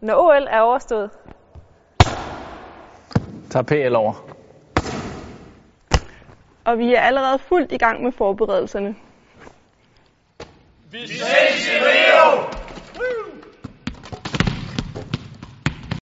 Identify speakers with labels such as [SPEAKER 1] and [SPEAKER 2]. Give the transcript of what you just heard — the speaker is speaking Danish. [SPEAKER 1] Når OL er overstået,
[SPEAKER 2] Tag PL over.
[SPEAKER 1] og vi er allerede fuldt i gang med forberedelserne.
[SPEAKER 3] Vi ses i